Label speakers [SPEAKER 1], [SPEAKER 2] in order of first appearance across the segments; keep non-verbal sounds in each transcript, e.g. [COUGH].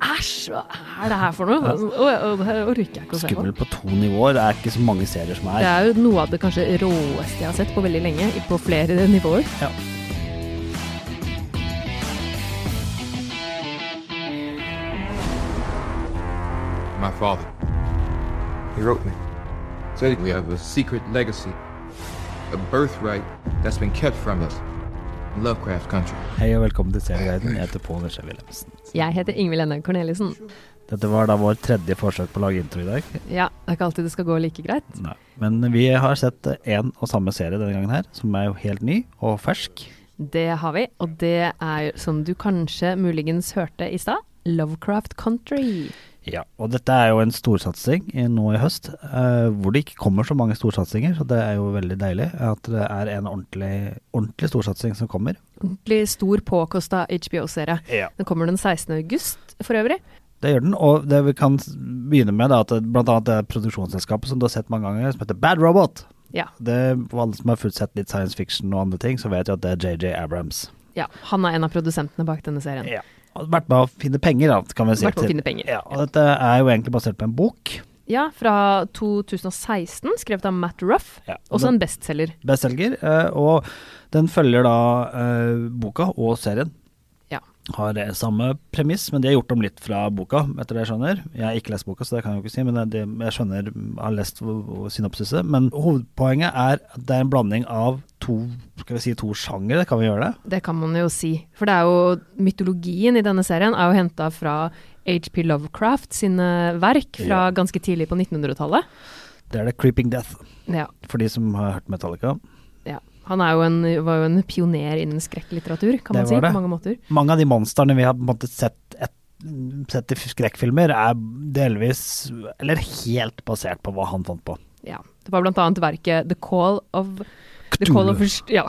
[SPEAKER 1] Æsj, hva er det her for noe? Og, og, det her orker jeg ikke å se på.
[SPEAKER 2] Skummel på to nivåer. Det er ikke så mange serier som
[SPEAKER 1] Det
[SPEAKER 2] er
[SPEAKER 1] er jo noe av det kanskje råeste jeg har sett på veldig lenge, i- på flere nivåer.
[SPEAKER 2] Ja.
[SPEAKER 3] My father. He wrote me. Said we have a secret legacy, a birthright that's been kept from us. in Lovecraft Country.
[SPEAKER 2] Hei og velkommen til Serieguiden. Jeg heter Pål Ørsheim Wilhelmsen.
[SPEAKER 1] Jeg heter Ingvild Enne Corneliussen.
[SPEAKER 2] Dette var da vår tredje forsøk på å lage intro i dag.
[SPEAKER 1] Ja, det er ikke alltid det skal gå like greit.
[SPEAKER 2] Nei. Men vi har sett én og samme serie denne gangen her, som er jo helt ny og fersk.
[SPEAKER 1] Det har vi, og det er jo, som du kanskje muligens hørte i stad, Lovecraft Country.
[SPEAKER 2] Ja, og dette er jo en storsatsing i- nå i høst, eh, hvor det ikke kommer så mange storsatsinger, så det er jo veldig deilig at det er en ordentlig, ordentlig storsatsing som kommer.
[SPEAKER 1] Ordentlig stor påkosta HBO-serie.
[SPEAKER 2] Ja.
[SPEAKER 1] Den kommer den 16. august for øvrig.
[SPEAKER 2] Det gjør den, og det vi kan s- begynne med, da, at det- blant annet det produksjonsselskapet som du har sett mange ganger, som heter Bad Robot.
[SPEAKER 1] Ja.
[SPEAKER 2] Det, for alle som har fulgt sett litt science fiction og andre ting, så vet jo at det er JJ Abrams.
[SPEAKER 1] ja. Han er en av produsentene bak denne serien.
[SPEAKER 2] Ja. Og vært med å finne penger, da, kan vi si.
[SPEAKER 1] Vært med å
[SPEAKER 2] til-
[SPEAKER 1] finne penger.
[SPEAKER 2] Ja, og dette er jo egentlig basert på en bok.
[SPEAKER 1] Ja, fra 2016, skrevet av Matt Ruff.
[SPEAKER 2] Ja.
[SPEAKER 1] Også en bestselger.
[SPEAKER 2] bestselger, eh, og den følger da eh, boka og serien.
[SPEAKER 1] Ja.
[SPEAKER 2] Har eh, samme premiss, men de har gjort om litt fra boka, etter det jeg skjønner. Jeg har ikke lest boka, så det kan jeg jo ikke si, men det, jeg skjønner, har lest v- v- synopsiset. Men hovedpoenget er at det er en blanding av to, skal vi si, to sjangere, kan vi gjøre det?
[SPEAKER 1] Det kan man jo si. For det er jo mytologien i denne serien er jo henta fra HP Lovecraft sine verk fra
[SPEAKER 2] Ja.
[SPEAKER 1] ganske tidlig på 1900-tallet.
[SPEAKER 2] Det er det Creeping Death,
[SPEAKER 1] Ja,
[SPEAKER 2] for de som har hørt Metallica.
[SPEAKER 1] ja. Han er jo en, var jo en pioner innen skrekklitteratur, kan
[SPEAKER 2] Det
[SPEAKER 1] man si,
[SPEAKER 2] var det.
[SPEAKER 1] på mange måter.
[SPEAKER 2] mange av de monstrene vi har på en måte sett, et, sett i skrekkfilmer, er delvis, eller helt basert på hva han fant på.
[SPEAKER 1] Ja. Det var blant annet verket The Call of The Call of, ja,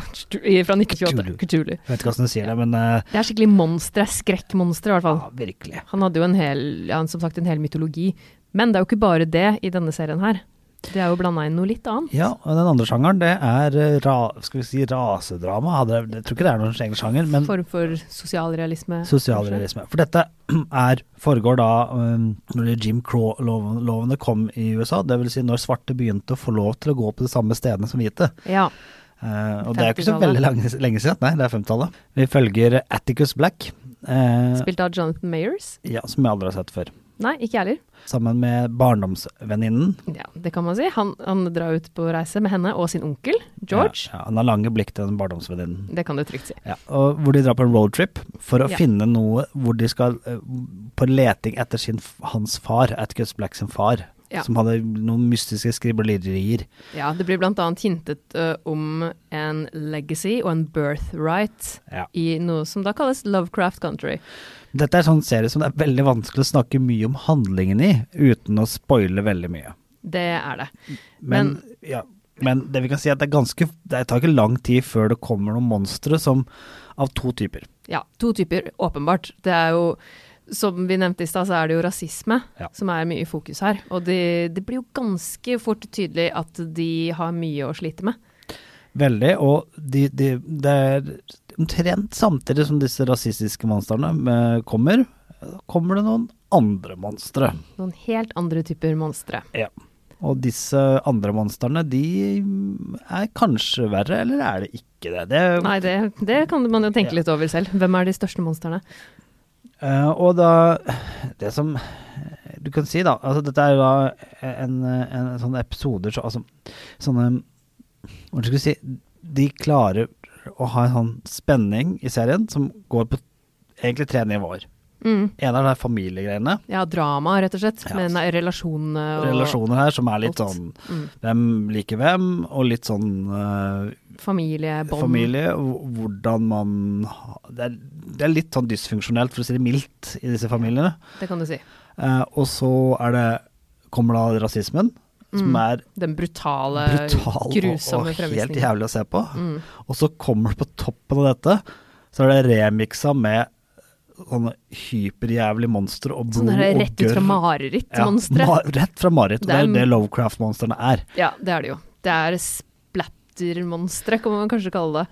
[SPEAKER 1] i- fra 1928.
[SPEAKER 2] Cthulhu.
[SPEAKER 1] Cthulhu.
[SPEAKER 2] Jeg vet ikke hvordan du sier det, men eh,
[SPEAKER 1] Det er skikkelig monstre, skrekkmonstre i hvert fall.
[SPEAKER 2] ja, virkelig.
[SPEAKER 1] Han hadde jo en hel, ja, som sagt en hel mytologi. Men det er jo ikke bare det i denne serien her. Det er jo blanda inn noe litt annet.
[SPEAKER 2] Ja, og den andre sjangeren, det er eh, ra, skal vi si, rasedrama. Hadde, jeg tror ikke det er noen egen sjanger, men
[SPEAKER 1] Form for sosialrealisme.
[SPEAKER 2] sosialrealisme. For dette [CLEARS THROAT] er, foregår da um, når Jim Crow-lovene kom i USA, dvs. Si når svarte begynte å få lov til å gå på de samme stedene som hvite.
[SPEAKER 1] Ja.
[SPEAKER 2] Eh, og det er jo ikke så
[SPEAKER 1] 50-tallet.
[SPEAKER 2] veldig lenge, lenge siden, nei, det er 50-tallet. Vi følger Atticus Black, eh,
[SPEAKER 1] Spilt av Jonathan Mayers?
[SPEAKER 2] ja, som jeg aldri har sett før.
[SPEAKER 1] Nei, ikke jeg heller.
[SPEAKER 2] Sammen med barndomsvenninnen.
[SPEAKER 1] Ja, det kan man si. Han, han drar ut på reise med henne og sin onkel, George.
[SPEAKER 2] Ja, ja, han har lange blikk til den barndomsvenninnen.
[SPEAKER 1] Det kan du trygt si.
[SPEAKER 2] Ja, og hvor de drar på en roadtrip for å
[SPEAKER 1] Ja.
[SPEAKER 2] finne noe hvor de skal eh, på leting etter sin, hans far, Atticus Black sin far,
[SPEAKER 1] Ja.
[SPEAKER 2] som hadde noen mystiske skriblerier.
[SPEAKER 1] Ja, det blir blant annet hintet ø, om en legacy og en birthright
[SPEAKER 2] Ja.
[SPEAKER 1] i noe som da kalles Lovecraft Country.
[SPEAKER 2] Dette er en sånn serie som det er veldig vanskelig å snakke mye om handlingen i, uten å spoile veldig mye.
[SPEAKER 1] Det er det.
[SPEAKER 2] Men, ja, men det vi kan si er at det, er ganske, det tar ikke lang tid før det kommer noen monstre som, av to typer.
[SPEAKER 1] Ja, to typer, åpenbart. Det er jo, som vi nevnte i stad, så er det jo rasisme
[SPEAKER 2] Ja.
[SPEAKER 1] som er mye i fokus her. Og det, det blir jo ganske fort tydelig at de har mye å slite med.
[SPEAKER 2] Veldig, og de, de, det er omtrent samtidig som disse rasistiske monstrene eh, kommer, kommer det noen andre monstre.
[SPEAKER 1] Noen helt andre typer monstre.
[SPEAKER 2] Og disse andre monstrene, de er kanskje verre, eller er det ikke det? det
[SPEAKER 1] Nei, det, det kan man jo tenke
[SPEAKER 2] Ja.
[SPEAKER 1] litt over selv. Hvem er de største monstrene?
[SPEAKER 2] Eh, og da Det som du kan si, da altså Dette er jo da en, en sånn episoder så, Altså sånne Hvordan skal vi si De klarer å ha en sånn spenning i serien som går på egentlig tre nivåer.
[SPEAKER 1] Mm.
[SPEAKER 2] En av de familiegreiene.
[SPEAKER 1] Ja, drama, rett og slett.
[SPEAKER 2] Ja.
[SPEAKER 1] Men nei, relasjonene og
[SPEAKER 2] Relasjoner her som er
[SPEAKER 1] alt.
[SPEAKER 2] litt sånn
[SPEAKER 1] Mm.
[SPEAKER 2] hvem liker hvem, og litt sånn eh,
[SPEAKER 1] familiebånd.
[SPEAKER 2] familie. og Hvordan man ha- det er, det er litt sånn dysfunksjonelt, for å si det mildt, i disse familiene.
[SPEAKER 1] Det kan du si.
[SPEAKER 2] Eh, og så er det, kommer da rasismen, som er
[SPEAKER 1] Den brutale,
[SPEAKER 2] brutal og,
[SPEAKER 1] Mm. grusomme Mm.
[SPEAKER 2] og helt
[SPEAKER 1] fremvisningen.
[SPEAKER 2] jævlig å se på. Og så kommer det på toppen av dette, så er det remiksa med sånne hyperjævlige monstre og
[SPEAKER 1] Sånn
[SPEAKER 2] blod
[SPEAKER 1] her
[SPEAKER 2] og
[SPEAKER 1] rett ut fra
[SPEAKER 2] gørr. Ja,
[SPEAKER 1] marerittmonstre.
[SPEAKER 2] ma- rett fra mareritt.
[SPEAKER 1] Det
[SPEAKER 2] og Det
[SPEAKER 1] er
[SPEAKER 2] er jo det
[SPEAKER 1] en-
[SPEAKER 2] Lovecraft-monstrene er.
[SPEAKER 1] Ja, det er det jo. Det er splattermonstre, kan man kanskje kalle det.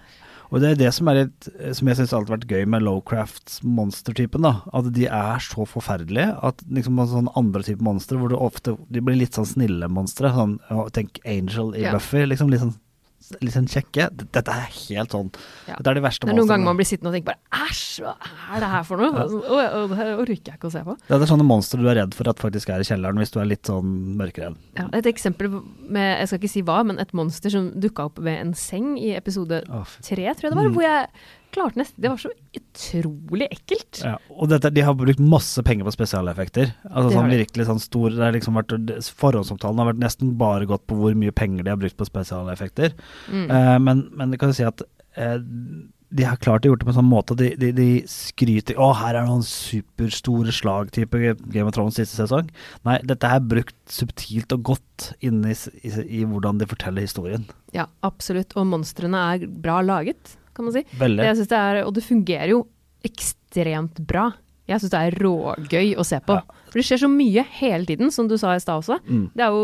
[SPEAKER 2] Og det er det som er litt Som jeg syns alltid har vært gøy med Lowcrafts monstertypen, da. At de er så forferdelige at liksom en sånn andre type monstre hvor du ofte De blir litt sånn snille monstre. Sånn, å, tenk Angel i
[SPEAKER 1] Ja.
[SPEAKER 2] Buffy, liksom. Litt sånn, litt sånn kjekke. D- Dette er helt sånn
[SPEAKER 1] Ja.
[SPEAKER 2] Dette er de verste
[SPEAKER 1] Det er noen ganger
[SPEAKER 2] monstrene.
[SPEAKER 1] man blir sittende og tenker bare æsj, hva er det her for noe? Og, og, og, det her orker jeg ikke å se på.
[SPEAKER 2] Dette er sånne monstre du er redd for at faktisk er i kjelleren hvis du er litt sånn mørkeredd.
[SPEAKER 1] Ja, et eksempel med, jeg skal ikke si hva, men et monster som dukka opp ved en seng i episode
[SPEAKER 2] Å, fy.
[SPEAKER 1] tre, tror jeg det
[SPEAKER 2] Mm.
[SPEAKER 1] var, hvor jeg klarte nesten Det var så utrolig ekkelt.
[SPEAKER 2] Ja, og dette, de har brukt masse penger på spesialeffekter. Altså
[SPEAKER 1] Det har
[SPEAKER 2] sånn
[SPEAKER 1] de.
[SPEAKER 2] virkelig sånn stor det har liksom vært, Forhåndsomtalen har vært nesten bare gått på hvor mye penger de har brukt på spesialeffekter.
[SPEAKER 1] Mm.
[SPEAKER 2] Eh, men, men det kan jo si at eh, de har klart å gjort det på en sånn måte at de, de, de skryter Å, her er det noen superstore slag-type Game of Thrones siste sesong. Nei, dette er brukt subtilt og godt inne i, s- i, s- i hvordan de forteller historien.
[SPEAKER 1] Ja, absolutt. Og monstrene er bra laget, kan man si.
[SPEAKER 2] Veldig.
[SPEAKER 1] Jeg synes det er, og det fungerer jo ekstremt bra. Jeg syns det er rågøy å se på.
[SPEAKER 2] Ja.
[SPEAKER 1] For det skjer så mye hele tiden, som du sa i stad også.
[SPEAKER 2] Mm.
[SPEAKER 1] Det er jo,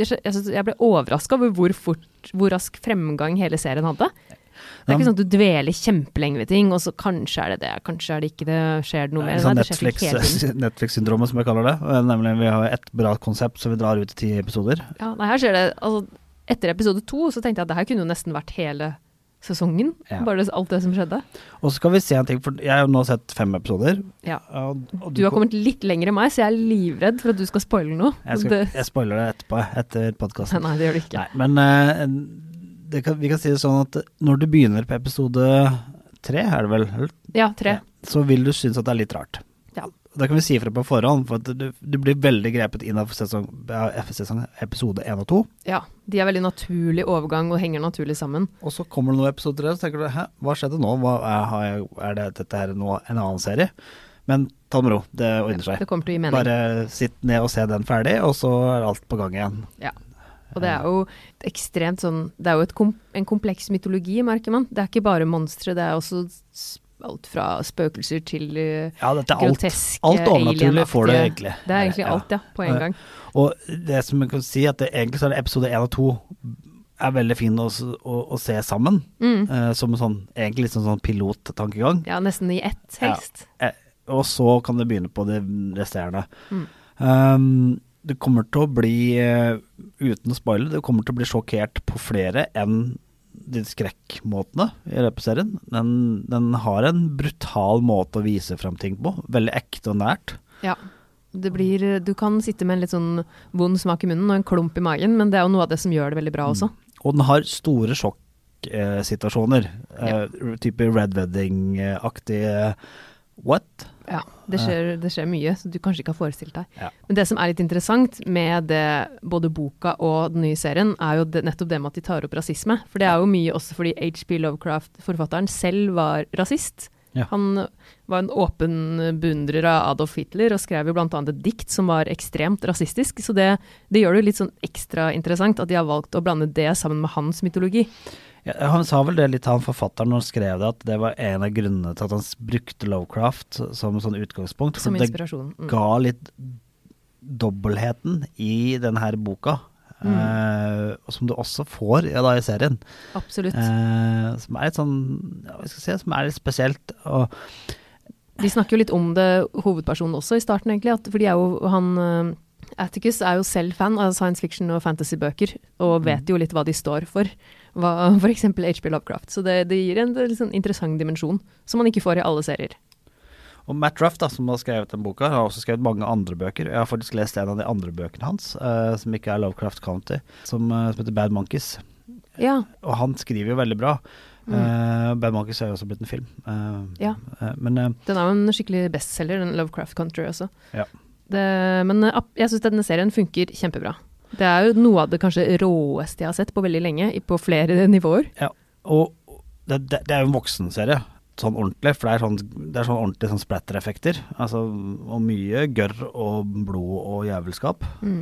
[SPEAKER 1] det, skje- jeg, synes, jeg ble overraska over hvor, fort, hvor rask fremgang hele serien hadde. Det er
[SPEAKER 2] Ja.
[SPEAKER 1] ikke sånn at du dveler kjempelenge ved ting, og så kanskje er det det, kanskje er det ikke det, skjer det noe
[SPEAKER 2] Det
[SPEAKER 1] mer?
[SPEAKER 2] er sånn
[SPEAKER 1] Nei, det skjer ikke hele tiden.
[SPEAKER 2] Netflix- [LAUGHS] Netflix-syndromet, som jeg kaller det. Eh, Nemlig vi har et bra konsept, så vi drar ut i ti episoder.
[SPEAKER 1] Ja, nei, her skjer det altså, Etter episode to så tenkte jeg at det her kunne jo nesten vært hele sesongen.
[SPEAKER 2] Ja.
[SPEAKER 1] Bare det- alt det som skjedde.
[SPEAKER 2] Og så skal vi se en ting, for jeg har jo nå sett fem episoder.
[SPEAKER 1] Ja.
[SPEAKER 2] Og, og
[SPEAKER 1] Du har kommet litt lenger enn meg, så jeg er livredd for at du skal spoile noe.
[SPEAKER 2] Jeg, skal,
[SPEAKER 1] det,
[SPEAKER 2] jeg spoiler det etterpå, etter podkasten.
[SPEAKER 1] nei, det gjør du ikke.
[SPEAKER 2] Nei, men eh, det kan, vi kan si det sånn at når du begynner på episode tre, er det vel, eller?
[SPEAKER 1] Ja, tre.
[SPEAKER 2] så vil du synes at det er litt rart.
[SPEAKER 1] Ja.
[SPEAKER 2] Da kan vi si fra på forhånd, for at du, du blir veldig grepet inn av sesong, av sesong episode én og to.
[SPEAKER 1] Ja, De er veldig naturlig overgang og henger naturlig sammen.
[SPEAKER 2] Og så kommer det noe i episode tre, så tenker du hæ, hva skjedde nå? Hva er, har jeg, er det, dette her nå en annen serie? Men ta det med ro, det ordner seg.
[SPEAKER 1] Det kommer til å gi mening.
[SPEAKER 2] Bare sitt ned og se den ferdig, og så er alt på gang igjen.
[SPEAKER 1] Ja. Og det er jo et ekstremt sånn Det er jo et kom, en kompleks mytologi, merker man. Det er ikke bare monstre, det er også s- alt fra spøkelser til eh,
[SPEAKER 2] Ja, dette er alt.
[SPEAKER 1] groteske
[SPEAKER 2] Alt overnaturlig får du
[SPEAKER 1] alienaktige-
[SPEAKER 2] egentlig.
[SPEAKER 1] Det er egentlig
[SPEAKER 2] Ja.
[SPEAKER 1] alt, ja. På en gang.
[SPEAKER 2] Og det som jeg kan si, at det, egentlig så er det episode én og to er veldig fin å, s- å, å se sammen.
[SPEAKER 1] Mm.
[SPEAKER 2] Eh, som en sånn, egentlig litt sånn, sånn pilottankegang.
[SPEAKER 1] Ja, nesten i ett, helst.
[SPEAKER 2] Eh, og så kan du begynne på det resterende. Um, det kommer til å bli, eh, uten å spoile, det kommer til å bli sjokkert på flere enn de skrekkmåtene i løpeserien. Den, den har en brutal måte å vise frem ting på. Veldig ekte og nært.
[SPEAKER 1] Ja. Det blir, du kan sitte med en litt sånn vond smak i munnen og en klump i magen, men det er jo noe av det som gjør det veldig bra også.
[SPEAKER 2] Og den har store sjokksituasjoner. Eh,
[SPEAKER 1] Ja.
[SPEAKER 2] Type Red Wedding-aktig eh, What?
[SPEAKER 1] Ja, det skjer, det skjer mye som du kanskje ikke har forestilt deg.
[SPEAKER 2] Ja.
[SPEAKER 1] Men det som er litt interessant med det, både boka og den nye serien, er jo det, nettopp det med at de tar opp rasisme. For det er jo mye også fordi H.P. Lovecraft, forfatteren, selv var rasist.
[SPEAKER 2] Ja.
[SPEAKER 1] Han var en åpen beundrer av Adolf Hitler og skrev jo bl.a. et dikt som var ekstremt rasistisk. Så det, det gjør det jo litt sånn ekstra interessant at de har valgt å blande det sammen med hans mytologi.
[SPEAKER 2] Ja, han sa vel det litt, han forfatteren, når han skrev det, at det var en av grunnene til at han s- brukte Lovecraft som sånn utgangspunkt.
[SPEAKER 1] Som
[SPEAKER 2] det
[SPEAKER 1] inspirasjon, mm.
[SPEAKER 2] ga litt dobbeltheten i denne her boka,
[SPEAKER 1] Mm.
[SPEAKER 2] eh, og som du også får ja, da, i serien.
[SPEAKER 1] Absolutt.
[SPEAKER 2] Eh, som er litt sånn ja, hva skal jeg si, som er litt spesielt. Og,
[SPEAKER 1] De snakker jo litt om det, hovedpersonen også, i starten egentlig. At, for de er jo, han eh, Atticus er jo selv fan av science fiction og fantasybøker, og vet jo litt hva de står for. Hva, for eksempel HB Lovecraft. Så det, det gir en litt sånn interessant dimensjon, som man ikke får i alle serier.
[SPEAKER 2] og Matt Ruff, da, som har skrevet den boka, har også skrevet mange andre bøker. Jeg har faktisk lest en av de andre bøkene hans, eh, som ikke er Lovecraft County, som, eh, som heter Bad Monkeys.
[SPEAKER 1] Ja,
[SPEAKER 2] Og han skriver jo veldig bra. Eh, Bad Monkeys er jo også blitt en film. Eh,
[SPEAKER 1] Mm. Ja.
[SPEAKER 2] eh, men eh,
[SPEAKER 1] den er jo en skikkelig bestselger, den Lovecraft Country også.
[SPEAKER 2] ja.
[SPEAKER 1] Det, men eh, ap- jeg syns denne serien funker kjempebra. Det er jo noe av det kanskje råeste jeg har sett på veldig lenge, i- på flere [LAUGHS] nivåer.
[SPEAKER 2] ja. Og det, det, det er jo en voksenserie, sånn ordentlig. For det er sånn, det er sånn ordentlig sånn splatter-effekter. Altså, og mye gørr og blod og jævelskap. Eh,
[SPEAKER 1] Mm.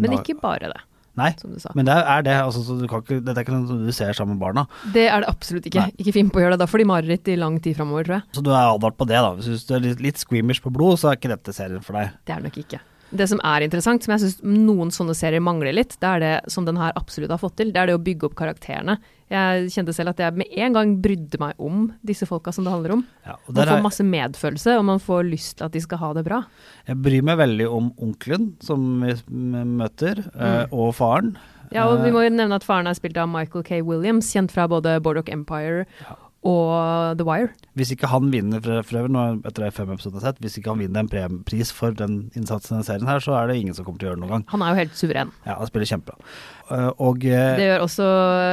[SPEAKER 1] Men
[SPEAKER 2] da-
[SPEAKER 1] ikke bare det,
[SPEAKER 2] Nei.
[SPEAKER 1] som du sa.
[SPEAKER 2] Men det er det. Altså, så du kan ikke, dette er ikke noe du ser sammen med barna.
[SPEAKER 1] Det er det absolutt ikke.
[SPEAKER 2] Nei.
[SPEAKER 1] Ikke finn på å gjøre det. Da får de mareritt i lang tid framover, tror jeg.
[SPEAKER 2] Så du er advart på det, da. Hvis du er litt, litt squeamish på blod, så er ikke dette serien for deg.
[SPEAKER 1] Det er det nok ikke. det som er interessant, som jeg syns noen sånne serier mangler litt, det er det som den her absolutt har fått til, det er det å bygge opp karakterene. Jeg kjente selv at jeg med en gang brydde meg om disse folka som det handler om.
[SPEAKER 2] Ja, og
[SPEAKER 1] Man
[SPEAKER 2] der
[SPEAKER 1] får
[SPEAKER 2] er,
[SPEAKER 1] masse medfølelse, og man får lyst til at de skal ha det bra.
[SPEAKER 2] jeg bryr meg veldig om onkelen som vi s- m- møter,
[SPEAKER 1] Mm.
[SPEAKER 2] eh, og faren.
[SPEAKER 1] Ja,
[SPEAKER 2] Eh.
[SPEAKER 1] og vi må jo nevne at faren er spilt av Michael K. Williams, kjent fra både Bordock Empire og The Wire.
[SPEAKER 2] Hvis ikke han vinner for, for øvrig, nå etter de fem episodene jeg har sett, hvis ikke han vinner en prem- pris for den innsatsen i denne serien her, så er det ingen som kommer til å gjøre det noen gang.
[SPEAKER 1] Han er jo helt suveren.
[SPEAKER 2] Ja, han spiller kjempebra. Eh, og eh,
[SPEAKER 1] Det gjør også,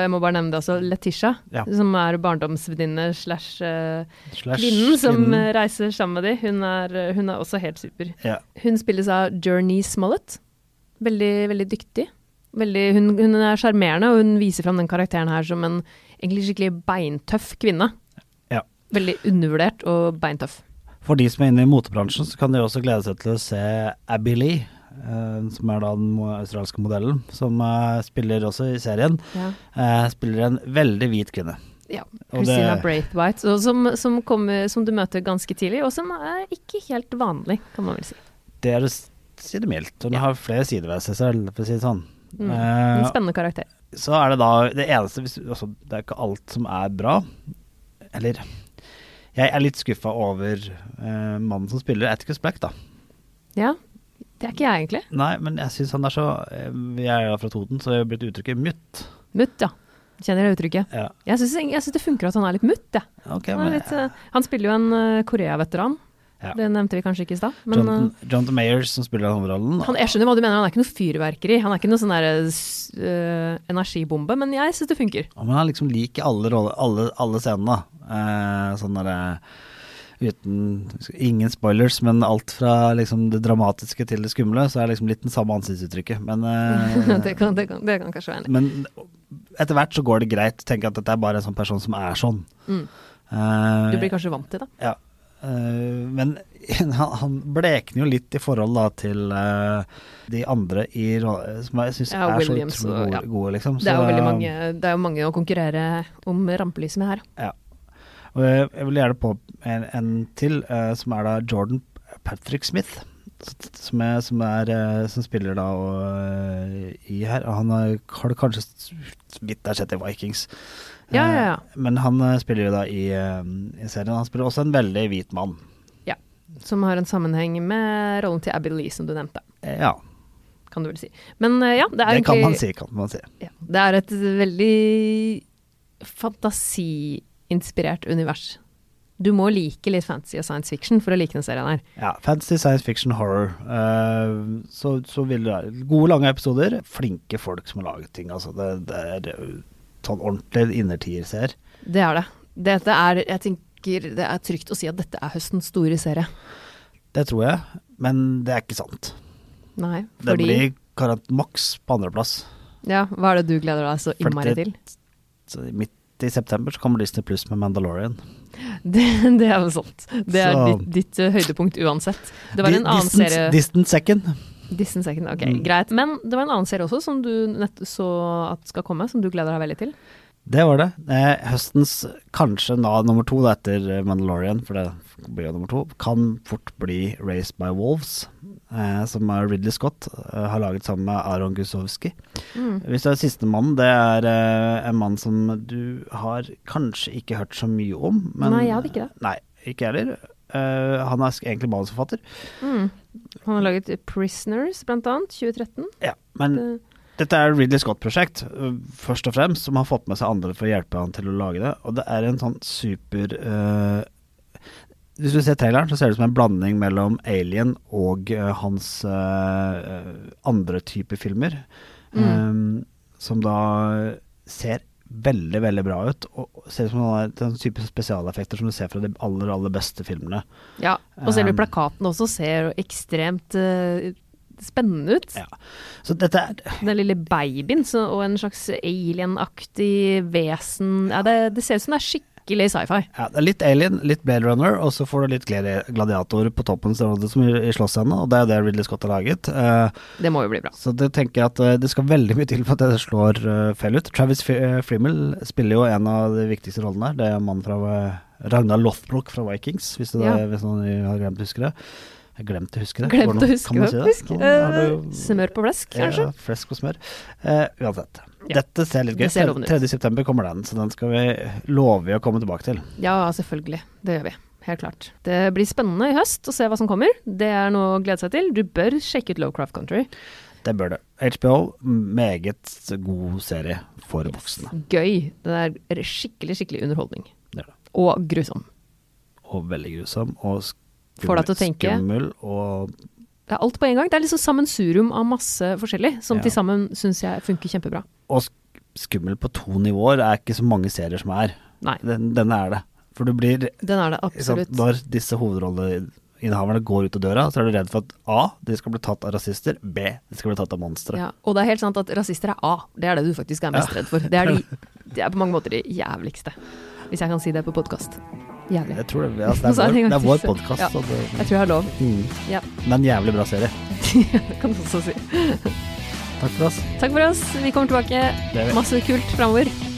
[SPEAKER 1] jeg må bare nevne det også, Letitia,
[SPEAKER 2] Ja.
[SPEAKER 1] som er barndomsvenninne slash eh,
[SPEAKER 2] slash
[SPEAKER 1] kvinnen som
[SPEAKER 2] kvinnen.
[SPEAKER 1] eh, reiser sammen med de. Hun er, eh, hun er også helt super.
[SPEAKER 2] ja.
[SPEAKER 1] Hun spilles av Journey Smollett. Veldig, veldig dyktig. Veldig, hun, hun er sjarmerende, og hun viser fram den karakteren her som en egentlig skikkelig beintøff kvinne.
[SPEAKER 2] Ja.
[SPEAKER 1] Veldig undervurdert og beintøff.
[SPEAKER 2] For de som er inne i motebransjen, så kan de også glede seg til å se Abby Lee, eh, som er da den mo- australske modellen, som eh, spiller også i serien.
[SPEAKER 1] Ja.
[SPEAKER 2] Eh, spiller en veldig hvit kvinne.
[SPEAKER 1] Ja,
[SPEAKER 2] Og det-
[SPEAKER 1] Christina Braithwaite, og som, som, kommer, som du møter ganske tidlig, og som er ikke helt vanlig, kan man vel si.
[SPEAKER 2] Det er å s- si det mildt. Hun har flere sider ved seg selv, for å si det sånn.
[SPEAKER 1] Mm. En
[SPEAKER 2] Eh,
[SPEAKER 1] spennende karakter.
[SPEAKER 2] så er det da det eneste hvis, altså, Det er ikke alt som er bra. Eller Jeg er litt skuffa over eh, mannen som spiller Atticus Black, da.
[SPEAKER 1] Ja, det er ikke jeg egentlig.
[SPEAKER 2] Nei, men jeg syns han er så eh, Vi er jo fra Toten, så jeg har blitt uttrykket mutt.
[SPEAKER 1] Mutt, ja. Kjenner det uttrykket.
[SPEAKER 2] Ja,
[SPEAKER 1] Jeg syns jeg synes det funker at han er litt mutt, jeg.
[SPEAKER 2] ok,
[SPEAKER 1] Han,
[SPEAKER 2] men
[SPEAKER 1] er litt, eh, han spiller jo en eh, Korea-veteran,
[SPEAKER 2] Ja.
[SPEAKER 1] det nevnte vi kanskje ikke i stad. Men
[SPEAKER 2] Jonathan, Jonathan Mayer som spiller den hovedrollen.
[SPEAKER 1] eh, han, jeg skjønner hva du mener, han er ikke noe fyrverkeri. Han er ikke noe sånn der eh, s- eh, energibombe, men jeg syns det funker. [LAUGHS]
[SPEAKER 2] Ja, Men han liksom liker alle, roller, alle, alle scenene. Eh, sånn derre Uten Ingen spoilers, men alt fra liksom det dramatiske til det skumle, så er det liksom litt den samme ansiktsuttrykket.
[SPEAKER 1] [LAUGHS]
[SPEAKER 2] Men, eh,
[SPEAKER 1] det, kan, det, kan, det kan kanskje være en
[SPEAKER 2] men etter hvert så går det greit. Tenk at dette er bare en sånn person som er sånn.
[SPEAKER 1] Mm.
[SPEAKER 2] Eh,
[SPEAKER 1] Du blir kanskje vant til det.
[SPEAKER 2] Ja. Eh, men [LAUGHS] han, han blekner jo litt i forhold da, til eh, de andre i rolla, som jeg syns
[SPEAKER 1] Ja,
[SPEAKER 2] er
[SPEAKER 1] Williams
[SPEAKER 2] så utrolig
[SPEAKER 1] og-
[SPEAKER 2] gode,
[SPEAKER 1] ja.
[SPEAKER 2] gode, liksom.
[SPEAKER 1] Det er jo
[SPEAKER 2] Så,
[SPEAKER 1] veldig mange, det er jo mange å konkurrere om rampelyset med her.
[SPEAKER 2] Og jeg, jeg vil gjerne på en, en til, eh, som er da Jordan Patrick Smith. s- Som, er, som, er, eh, som spiller da og, eh, i her. Han har har du kanskje s- vidt jeg har sett i Vikings.
[SPEAKER 1] Ja,
[SPEAKER 2] Eh,
[SPEAKER 1] ja, ja.
[SPEAKER 2] Men han eh, spiller jo da i, eh, i serien. Han spiller også en veldig hvit mann.
[SPEAKER 1] Som har en sammenheng med rollen til Abby Lee, som du nevnte.
[SPEAKER 2] Eh, Ja,
[SPEAKER 1] Kan du vel si. Men eh, ja, det er
[SPEAKER 2] det kan
[SPEAKER 1] egentlig
[SPEAKER 2] man si, kan man si.
[SPEAKER 1] Ja, det er et veldig fantasiinspirert univers. Du må like litt fantasy og science fiction for å like den serien her.
[SPEAKER 2] Ja, Fantasy, science fiction, horror. Eh, så, så vil det være gode, lange episoder. Flinke folk som har laget ting. Altså, det, det er jo sånn ordentlig innertierseer.
[SPEAKER 1] Det er det. Dette er, jeg tenker det er trygt å si at dette er høstens store serie.
[SPEAKER 2] Det tror jeg, men det er ikke sant.
[SPEAKER 1] Nei,
[SPEAKER 2] Det
[SPEAKER 1] fordi
[SPEAKER 2] blir karant maks på andreplass.
[SPEAKER 1] Ja, hva er det du gleder deg så innmari
[SPEAKER 2] 40
[SPEAKER 1] til? [LAUGHS]
[SPEAKER 2] Så Midt i september så kommer Disney Pluss med Mandalorian.
[SPEAKER 1] Det, det er jo sant. Det er
[SPEAKER 2] Så-
[SPEAKER 1] ditt, ditt eh, høydepunkt uansett. Det var
[SPEAKER 2] Di-
[SPEAKER 1] en annen
[SPEAKER 2] distant,
[SPEAKER 1] serie
[SPEAKER 2] Distant second.
[SPEAKER 1] Distant Second, ok,
[SPEAKER 2] Mm.
[SPEAKER 1] greit. Men det var en annen serie også som du nett så at skal komme, som du gleder deg veldig til.
[SPEAKER 2] Det var det. Eh, høstens kanskje nå nummer to da, etter eh, Mandalorian, for det blir jo nummer to, kan fort bli Raised by Wolves, eh, som er Ridley Scott eh, har laget sammen med Aron Gusowski.
[SPEAKER 1] Mm.
[SPEAKER 2] Hvis det er sistemann, det er eh, en mann som du har kanskje ikke hørt så mye om. Men,
[SPEAKER 1] Nei, jeg hadde ikke det.
[SPEAKER 2] Nei, ikke jeg heller. Eh, han er sk- egentlig manusforfatter.
[SPEAKER 1] Mm. Han har laget Prisoners, blant annet, 2013.
[SPEAKER 2] Ja, men
[SPEAKER 1] Det-
[SPEAKER 2] Dette er Ridley Scott-prosjekt, øh, først og fremst, som har fått med seg andre for å hjelpe han til å lage det. Og det er en sånn super øh, Hvis du ser traileren, så ser det ut som en blanding mellom Alien og øh, hans øh, øh, andre type filmer. ehm, som da ser veldig, veldig bra ut. Og ser ut som han har den type spesialeffekter som du ser fra de aller, aller beste filmene.
[SPEAKER 1] Ja, og selve
[SPEAKER 2] Um,
[SPEAKER 1] plakaten også ser jo ekstremt eh, spennende ut.
[SPEAKER 2] Ja. Så dette er
[SPEAKER 1] Den lille babyen så, og en slags alien-aktig vesen. Ja, det, det ser ut som det er skikkelig sci-fi.
[SPEAKER 2] Ja, det er litt Alien, litt Blade Runner, og så får du litt gladi- Gladiator på toppen så det er som i i slåssscenen, og det er jo det Ridley Scott har laget. Eh,
[SPEAKER 1] Det må jo bli bra.
[SPEAKER 2] så det tenker jeg at eh, det skal veldig mye til for at det slår eh, feil ut. Travis F eh, Frimmel spiller jo en av de viktigste rollene her. Det er mannen fra eh, Ragnar Lothbrok fra Vikings, hvis, du da,
[SPEAKER 1] Ja.
[SPEAKER 2] hvis noen har glemt å huske det. Jeg glemte å huske det.
[SPEAKER 1] Glemt
[SPEAKER 2] Hvordan-
[SPEAKER 1] å huske
[SPEAKER 2] kan man
[SPEAKER 1] det,
[SPEAKER 2] si
[SPEAKER 1] faktisk.
[SPEAKER 2] Har
[SPEAKER 1] Eh,
[SPEAKER 2] du-
[SPEAKER 1] smør på flesk, kanskje?
[SPEAKER 2] Ja, flesk og smør. Eh, uansett.
[SPEAKER 1] Ja.
[SPEAKER 2] Dette ser litt gøy
[SPEAKER 1] Det ser
[SPEAKER 2] ut.
[SPEAKER 1] lovende ut.
[SPEAKER 2] 3. september kommer den, så den skal vi love vi å komme tilbake til.
[SPEAKER 1] Ja, selvfølgelig. Det gjør vi. Helt klart. Det blir spennende i høst å se hva som kommer. Det er noe å glede seg til. Du bør sjekke ut Lowcraft Country.
[SPEAKER 2] Det bør det. HBO, meget god serie for voksne.
[SPEAKER 1] Gøy. Det er skikkelig, skikkelig underholdning.
[SPEAKER 2] Det er det.
[SPEAKER 1] Og grusom.
[SPEAKER 2] Og veldig grusom, og skummel,
[SPEAKER 1] Får deg til å tenke.
[SPEAKER 2] skummel og
[SPEAKER 1] Det er alt på en gang. Det er liksom sammensurium av masse forskjellig, som
[SPEAKER 2] Ja.
[SPEAKER 1] til sammen syns jeg funker kjempebra.
[SPEAKER 2] og sk- skummel på to nivåer er ikke så mange serier som er.
[SPEAKER 1] Nei,
[SPEAKER 2] Den, denne er det. For du blir
[SPEAKER 1] den er det
[SPEAKER 2] ikke sant,
[SPEAKER 1] absolutt.
[SPEAKER 2] Når disse hovedrolleinnehaverne går ut av døra, så er du redd for at A. De skal bli tatt av rasister. B. De skal bli tatt av monstre.
[SPEAKER 1] Ja, og det er helt sant at rasister er A. Det er det du faktisk er mest redd for. Det er,
[SPEAKER 2] [LAUGHS]
[SPEAKER 1] de, det er på mange måter de jævligste. Hvis jeg kan si det på podkast. Jævlig.
[SPEAKER 2] Jeg tror det, altså,
[SPEAKER 1] [LAUGHS]
[SPEAKER 2] det,
[SPEAKER 1] Så er
[SPEAKER 2] er
[SPEAKER 1] det
[SPEAKER 2] vår, det er vår
[SPEAKER 1] faktisk-
[SPEAKER 2] podkast,
[SPEAKER 1] Ja.
[SPEAKER 2] så det-
[SPEAKER 1] Jeg tror jeg har lov. [LAUGHS]
[SPEAKER 2] mm.
[SPEAKER 1] Ja.
[SPEAKER 2] men jævlig bra serie.
[SPEAKER 1] det kan du også si.
[SPEAKER 2] Takk for oss.
[SPEAKER 1] Takk for oss. Vi kommer tilbake.
[SPEAKER 2] Det er vi.
[SPEAKER 1] Masse kult framover.